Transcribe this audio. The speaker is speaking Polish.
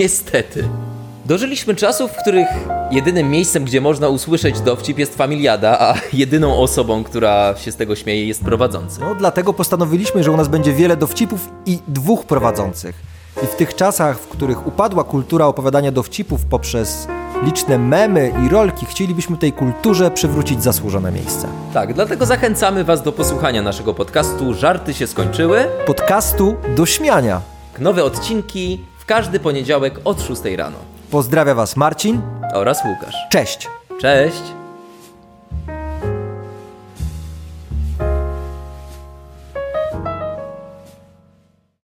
Niestety. Dożyliśmy czasów, w których jedynym miejscem, gdzie można usłyszeć dowcip jest familiada, a jedyną osobą, która się z tego śmieje jest prowadzący. No dlatego postanowiliśmy, że u nas będzie wiele dowcipów i dwóch prowadzących. I w tych czasach, w których upadła kultura opowiadania dowcipów poprzez liczne memy i rolki, chcielibyśmy tej kulturze przywrócić zasłużone miejsce. Tak, dlatego zachęcamy Was do posłuchania naszego podcastu Żarty się skończyły. Podcastu do śmiania. Nowe odcinki w każdy poniedziałek od 6 rano. Pozdrawia Was Marcin. Oraz Łukasz. Cześć! Cześć!